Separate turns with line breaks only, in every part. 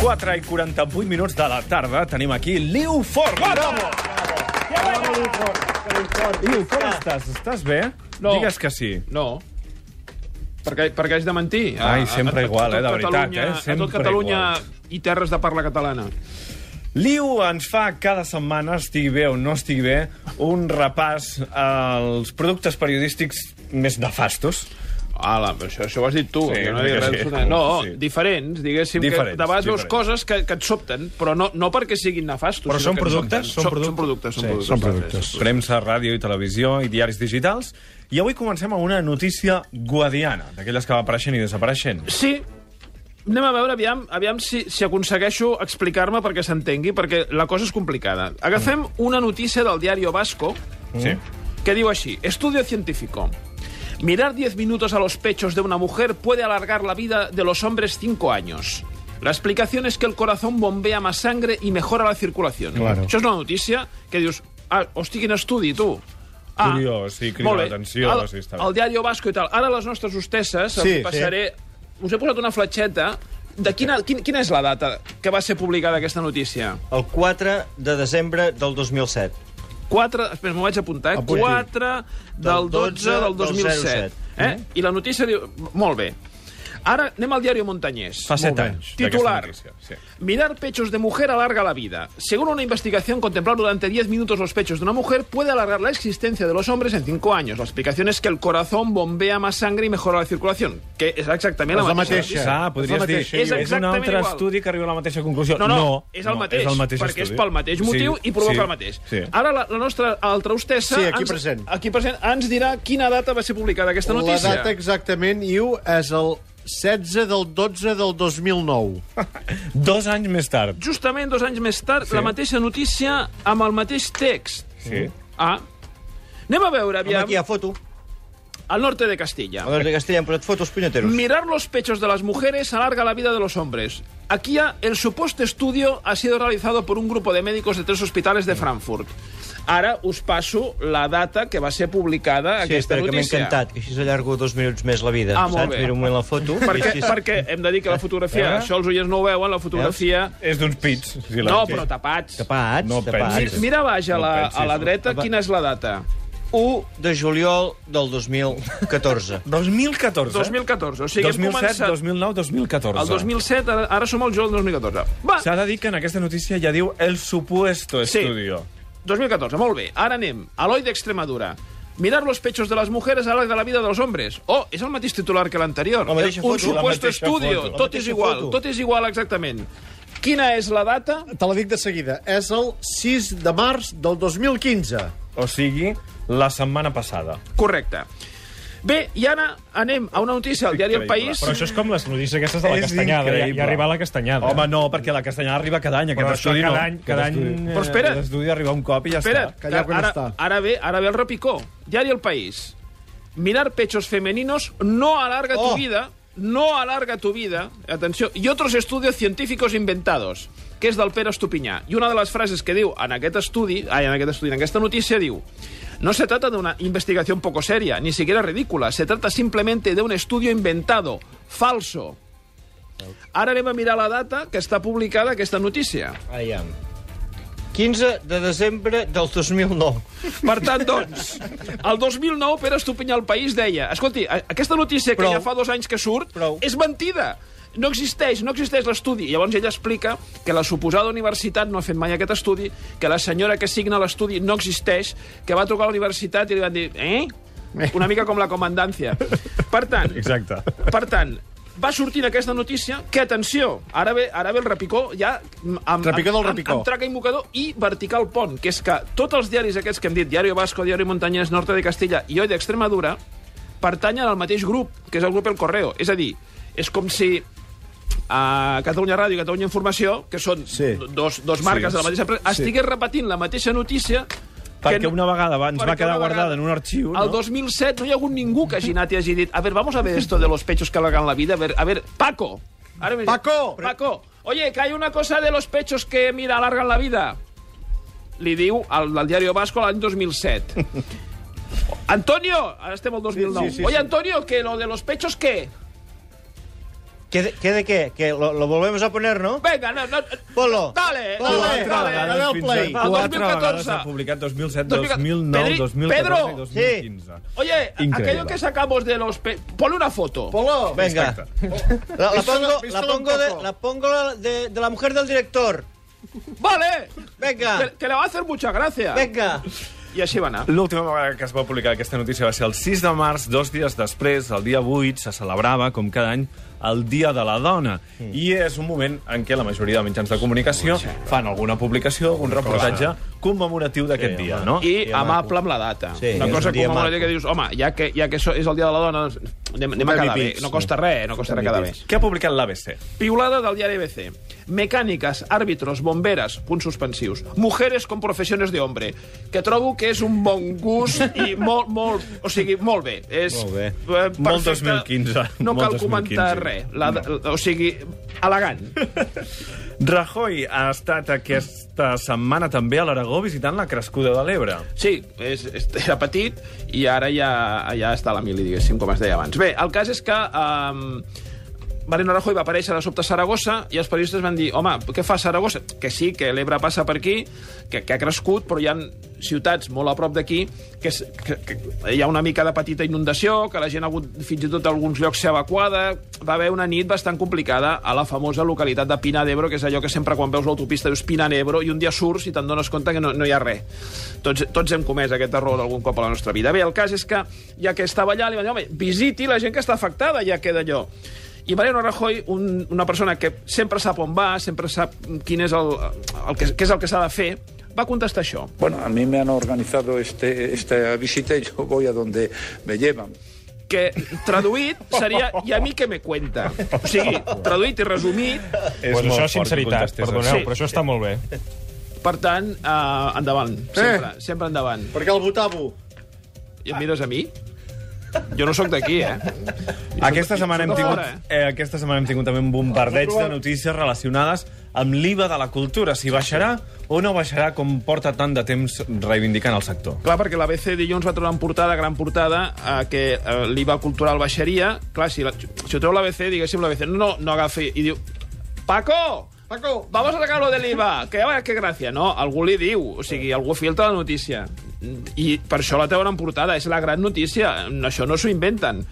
4 i 48 minuts de la tarda tenim aquí Liu Forn. Bravo! Liu, com estàs? Estàs bé?
No.
Digues que sí.
No. Perquè, perquè haig de mentir.
Ai, sempre igual, eh,
tot
de veritat,
Catalunya-
eh,
A tot
sempre
Catalunya
igual.
i terres de parla catalana.
Liu ens fa cada setmana, estigui bé o no estigui bé, un repàs als productes periodístics més nefastos.
Ala, però això, això ho has dit tu.
Sí,
jo no, he
crec
dit
que
res
sí.
absolutament. no
Sí.
diferents, diguéssim.
Diferents,
que de vegades veus
diferents.
coses que, que et sobten, però no, no perquè siguin nefastos.
Però
sinó
són
que et
productes?
sobten.
Són
Són, són productes. Són
Sí,
productes.
són productes.
Premsa, ràdio i televisió i diaris digitals. I avui comencem amb una notícia guadiana, d'aquelles que va apareixent i desapareixent.
Sí, anem a veure, aviam, aviam si, si aconsegueixo explicar-me perquè s'entengui, perquè la cosa és complicada. Agafem una notícia del diario Vasco,
Sí.
que digo así, estudio científico. Mirar 10 minutos a los pechos de una mujer puede alargar la vida de los hombres 5 años. La explicación es que el corazón bombea más sangre y mejora la circulación.
Claro.
Això és una notícia que dius... Ah, hosti, quin estudi, tu! Ah,
Curiós, sí, crida
molt bé.
l'atenció,
El,
sí, està bé.
el diari Vasco i tal. Ara les nostres hostesses
Sí,
sí, passaré... Sí. Us he posat una fletxeta de quina, quin, quina és la data que va ser publicada aquesta notícia?
El 4 de desembre del 2007.
4, espera, m'ho vaig apuntar,
Ah,
eh?
pues
Apunti.
4 del
Del
12 del
12
2007. Eh?
Mm-hmm.
I la notícia diu... Molt bé. Ara anem al diari Montañés.
Fa set
bé.
anys. d'aquesta
Titular.
notícia, Sí.
Mirar pechos de mujer alarga la vida. Según una investigación, contemplar durante 10 minutos los pechos de una mujer puede alargar la existencia de los hombres en 5 años. La explicación es que el corazón bombea más sangre y mejora la circulación, que és exactament
És
la
la
mateixa.
mateixa.
Ah, podries dir,
mateixa,
és,
jo.
és un
Exactament
altre
igual.
estudi que arriba a la mateixa conclusió.
No, no, és el mateix,
és el mateix
perquè
estudi.
és pel mateix motiu
Sí,
i provoca
sí,
el mateix. Ah.
Sí.
Ara la, la nostra altra hostessa...
Sí, aquí
ens,
present.
Aquí present ens dirà quina data va ser publicada aquesta
La
notícia.
data exactament, Iu, és el 16 del 12 del 2009.
Dos anys més tard.
Justament dos anys més tard, la mateixa notícia amb el mateix text.
Sí.
Ah, anem a veure,
Home,
aviam,
aquí hi ha foto.
al norte de Castilla.
A veure, de Castella han posat fotos punyeteros.
Mirar los pechos de las mujeres alarga la vida de los hombres. Aquí ya el supuesto estudio ha sido realizado por un grupo de médicos de tres hospitales de
Mm.
Frankfurt. Ara us passo la data que va ser publicada
Sí,
aquesta
espera, que m'he
notícia.
encantat, que així s'allargo dos minuts més la vida.
Ah, molt
saps?
bé.
Mira un moment la foto.
Perquè,
i
sí,
així-
perquè hem de dir que la fotografia,
Eh?
això els oients no ho veuen, la fotografia...
És d'uns pits. Si la-
No, però tapats.
Tapats,
No
tapats.
pensis.
Mira a baix a la,
No pensis,
a la
no.
dreta quina és la data.
1 de juliol del 2014.
2014.
2014. O sigui,
2007,
hem començat...
2009, 2014.
El 2007, ara, ara som al juliol del 2014. Va,
S'ha de dir que en aquesta notícia ja diu el supuesto
Sí.
estudio.
2014, molt bé. Ara anem. Aloi d'Extremadura. Mirar los pechos de las mujeres alarga la vida dels hombres. Oh, és el mateix titular que l'anterior.
La mateixa
Un
foto, la
supuesto
mateixa
estudio.
foto. La
Tot és
mateixa
igual,
foto.
tot és igual exactament. Quina és la data?
Te la dic de seguida. És el 6 de març del 2015.
O sigui, la setmana passada.
Correcta. Bé, i ara anem a una notícia al diari El
Increïble.
País.
Però això és com les notícies aquestes de la
És
castanyada. Ja,
increïble.
ja arribar a la castanyada.
Home, no, perquè la castellana arriba cada any. Aquest
Però això
estudi
cada
no.
any- cada
Aquest
any-
eh,
estudi-
Però espera't.
Aquest estudi arriba un cop i ja
Espera't,
està.
que
Callao que no
ara,
està.
ara, ve, ara ve el repicó. Diari El País. Mirar pechos femeninos no alarga
Oh.
tu vida, no alarga tu vida, atenció, y otros estudios científicos inventados, que és del Pere Estupinyà. I una de les frases que diu en aquest estudi, ai, en aquest estudi, en aquesta notícia, diu No se trata de una investigación poco seria, ni siquiera ridícula. Se trata simplemente de un estudio inventado, falso. Ara anem a mirar la data que està publicada aquesta notícia.
Aviam. 15 de desembre del 2009.
Per tant, doncs, el 2009 Pere Estupinyà al País deia escolti, a- aquesta notícia que
Prou.
ja fa dos anys que surt
Prou.
és mentida. No existeix, no existeix l'estudi. I Llavors ella explica que la suposada universitat no ha fet mai aquest estudi, que la senyora que signa l'estudi no existeix, que va trucar a la universitat i li van dir, eh? Una mica com la comandància. Per tant,
Exacte.
per tant, va sortint aquesta notícia, que atenció, ara ve, ara ve el repicó ja amb, amb,
Repicó del
amb-
repicó.
amb traca i mocador i vertical pont, que és que tots els diaris aquests que hem dit, Diario Vasco, Diario Montañés, Norte de Castilla i Hoy d'Extremadura, pertanyen al mateix grup, que és el grup El Correo. És a dir, és com si a Catalunya Ràdio i Catalunya Informació, que són
Sí.
do- dos, dos marques
Sí.
de la mateixa premsa, estigués repetint la mateixa notícia
Perquè
que-
una vegada va- ens va
perquè
quedar
una
guardada en un arxiu, no?
El 2007 no hi ha hagut ningú que hagi anat i hagi dit a ver, vamos a ver esto de los pechos que alargan la vida, a ver, a ver Paco. Ara m'he dit,
Paco!
Paco, oye, que hay una cosa de los pechos que, mira, alargan la vida. Li diu al, al diario Vasco l'any 2007. Antonio, ara estem al 2009.
Sí, sí, sí,
oye,
sí.
Antonio, que lo de los pechos, ¿qué?
¿Qué de, qué de qué? ¿Que lo, lo volvemos a poner, no?
Venga, no, no...
Polo.
Dale,
Polo.
dale,
Quatre
dale.
vegades. Adéu,
fins
Play.
ara.
El
Quatre
2014.
vegades ha publicat 2007, 2009,
2009,
2014 i
2015.
2015.
Oye,
Increíble.
aquello que sacamos de los... Pe... Ponle una foto.
Polo!
Venga. La, la pongo, la
Vístelo un
pongo, de,
poco.
la pongo de, de la mujer del director.
Vale!
Venga.
Que, que le va a hacer mucha gracia.
Venga.
I així va anar.
L'última vegada que es va publicar aquesta notícia va ser el 6 de març, dos dies després, el dia 8, se celebrava, com cada any, el Dia de la Dona.
Mm.
I és un moment en què la majoria de mitjans de comunicació fan alguna publicació, algun reportatge commemoratiu d'aquest dia, no?
I amable amb la data.
Sí,
una
és
cosa
un dia
com una
maco.
que dius, home, ja que, ja que això és el dia de la dona, doncs anem, anem a
Baby
quedar bé.
Pigs.
No costa res, eh, no costa res quedar bé.
Què ha publicat l'ABC?
Piulada del diari ABC. Mecánicas, árbitros, bomberas, punts suspensius. Mujeres con professiones de hombre. Que trobo que és un bon gust i molt, molt... O sigui, molt bé. És
Molt bé.
eh,
Molt
perfecte.
2015.
No
Molt
cal comentar
2015.
res. La, O sigui, elegant.
Rajoy ha estat aquesta setmana també a l'Aragó visitant la crescuda de l'Ebre.
Sí, és, és, era petit i ara ja, ja està a la mili, diguéssim, com es deia abans. Bé, el cas és que... Um, Mariano Rajoy va aparèixer de sobte a Saragossa i els periodistes van dir, home, què fa Saragossa? Que sí, que l'Ebre passa per aquí, que, que ha crescut, però hi ha ciutats molt a prop d'aquí que, es- que, que, hi ha una mica de petita inundació, que la gent ha hagut fins i tot a alguns llocs ser evacuada. Va haver una nit bastant complicada a la famosa localitat de Pina d'Ebro, que és allò que sempre quan veus l'autopista dius Pina d'Ebro i un dia surts i te'n dones compte que no, no hi ha res. Tots, tots hem comès aquest error algun cop a la nostra vida. Bé, el cas és que, ja que estava allà, li van dir, home, visiti la gent que està afectada, ja que d'allò. I Mariano Rajoy, un, una persona que sempre sap on va, sempre sap quin és el, el que, què és el que s'ha de fer, va contestar això.
Bueno, a mí me han organizado este, esta visita y yo voy a donde me llevan.
que traduït seria i a mi que me cuenta. O sigui, traduït i resumit,
Pues això
molt fort
és
que
sinceritat,
contestis
perdoneu,
Sí.
però això està molt bé.
per tant, eh, endavant, sempre, eh. sempre endavant.
Per què el votavo?
I em mires a mi? Jo no sóc d'aquí, eh?
Aquesta setmana, hem
Surt a
tingut,
fora,
eh, aquesta setmana hem tingut també un bombardeig de notícies relacionades amb l'IVA de la cultura. Si baixarà o no baixarà, com porta tant de temps reivindicant el sector.
Clar, perquè la BC dilluns va treure en portada, gran portada, eh, que eh, l'IVA cultural baixaria. Clar, si, la, si ho treu la BC, diguéssim, la BC no, no agafi... I diu, Paco,
Paco!
Vamos a sacar lo del IVA, que ja veuràs que gràcia. No, algú li diu, o sigui, algú filtra la notícia. I per això la treuen en portada, és la gran notícia, això no s'ho inventen.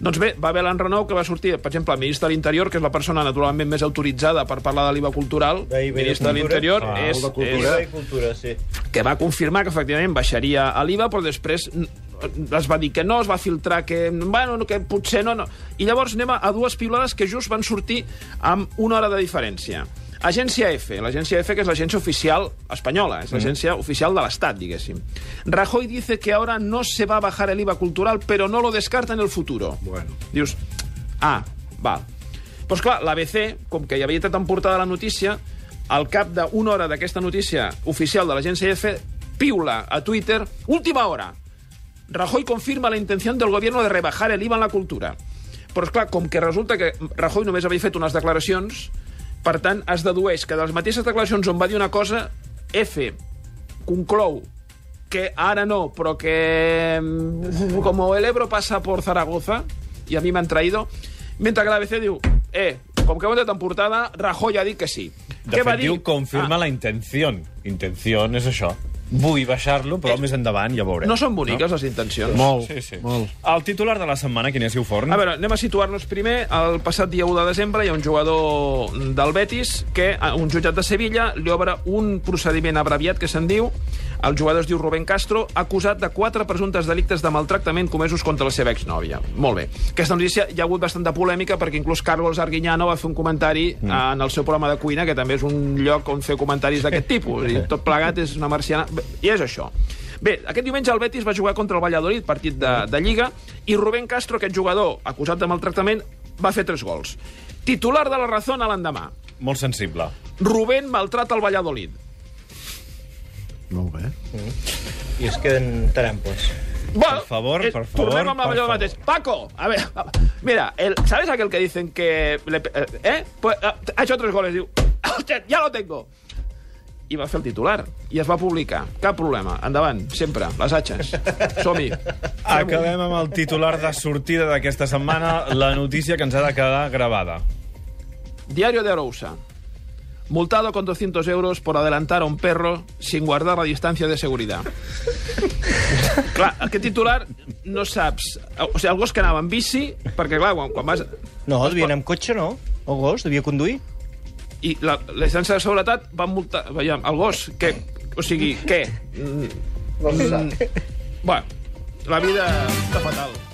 Doncs bé, va haver l'enrenou que va sortir, per exemple, el ministre de l'Interior, que és la persona naturalment més autoritzada per parlar de l'IVA cultural,
Bé, i bé,
ministre
de
de l'Interior,
cultura. Ah,
és,
de
és,
cultura i cultura, sí.
que va confirmar que efectivament baixaria a l'IVA, però després mm, es va dir que no, es va filtrar que, bueno, no, que potser no, no. I llavors anem a, a dues piulades que just van sortir amb una hora de diferència. Agència F, l'agència F que és l'agència oficial espanyola, és l'agència oficial de l'Estat, diguéssim. Rajoy dice que ahora no se va a bajar el IVA cultural, pero no lo descarta en el futuro. Bueno. Dius, ah, val. Doncs clar, l'ABC, com que ja havia estat en portada la notícia, al cap d'una hora d'aquesta notícia oficial de l'agència E F, piula a Twitter, última hora, Rajoy confirma la intención del gobierno de rebajar el IVA en la cultura. Però, esclar, com que resulta que Rajoy només havia fet unes declaracions, per tant, es dedueix que de les mateixes declaracions on va dir una cosa, F conclou que ara no, però que mm, com el Ebro passa por Zaragoza, i a mi m'han traïdo, mentre que l'ABC diu, eh, com que ho hem de portada, Rajoy ha dit que sí.
De fet, diu,
Ah.
confirma la intenció. Intenció és això. Vull baixar-lo,
Eh,
però més endavant ja veurem.
Ah, No són boniques, no? les intencions.
Molt,
Sí, sí.
molt.
El titular de la setmana, quin és, Iuforn?
A veure, anem a situar-nos primer. El passat dia 1 de desembre hi ha un jugador del Betis que a un jutjat de Sevilla li obre un procediment abreviat que se'n diu el jugador es diu Rubén Castro, acusat de quatre presumptes delictes de maltractament comesos contra la seva exnòvia. Molt bé. Aquesta notícia hi ha hagut bastanta polèmica perquè inclús Carlos Arguiñano va fer un comentari mm. en el seu programa de cuina, que també és un lloc on fer comentaris d'aquest tipus. I tot plegat és una marciana... Bé, I és això. Bé, aquest diumenge el Betis va jugar contra el Valladolid, partit de, de Lliga, i Rubén Castro, aquest jugador acusat de maltractament, va fer tres gols. Titular de la Razón a l'endemà.
Molt sensible.
Rubén maltrata el Valladolid.
Molt bé.
I es queden trampos.
Bueno, eh,
favor, por favor,
Tornem amb la
por
millor
favor.
mateix. Paco, a ver, a- mira, el, ¿sabes aquel que dicen que... le pe- eh, eh? Pues, eh, ha hecho tres goles, diu... "Hòstia, Ja lo tengo! I va fer el titular, i es va publicar. Cap problema, endavant, sempre, les atxes. Som-hi.
Acabem amb el titular de sortida d'aquesta setmana, la notícia que ens ha de quedar gravada.
Diario de Arousa. Multado con 200 euros por adelantar a un perro sin guardar la distancia de seguridad. clar, aquest titular no saps... O sigui, el gos que anava en bici, perquè clar, quan, quan vas...
No, devia anar amb cotxe, no? El gos, devia conduir.
I la, la distància de seguretat van multar... Veiem, el gos, que... O sigui, què? Mm, mm, bueno, la vida està fatal.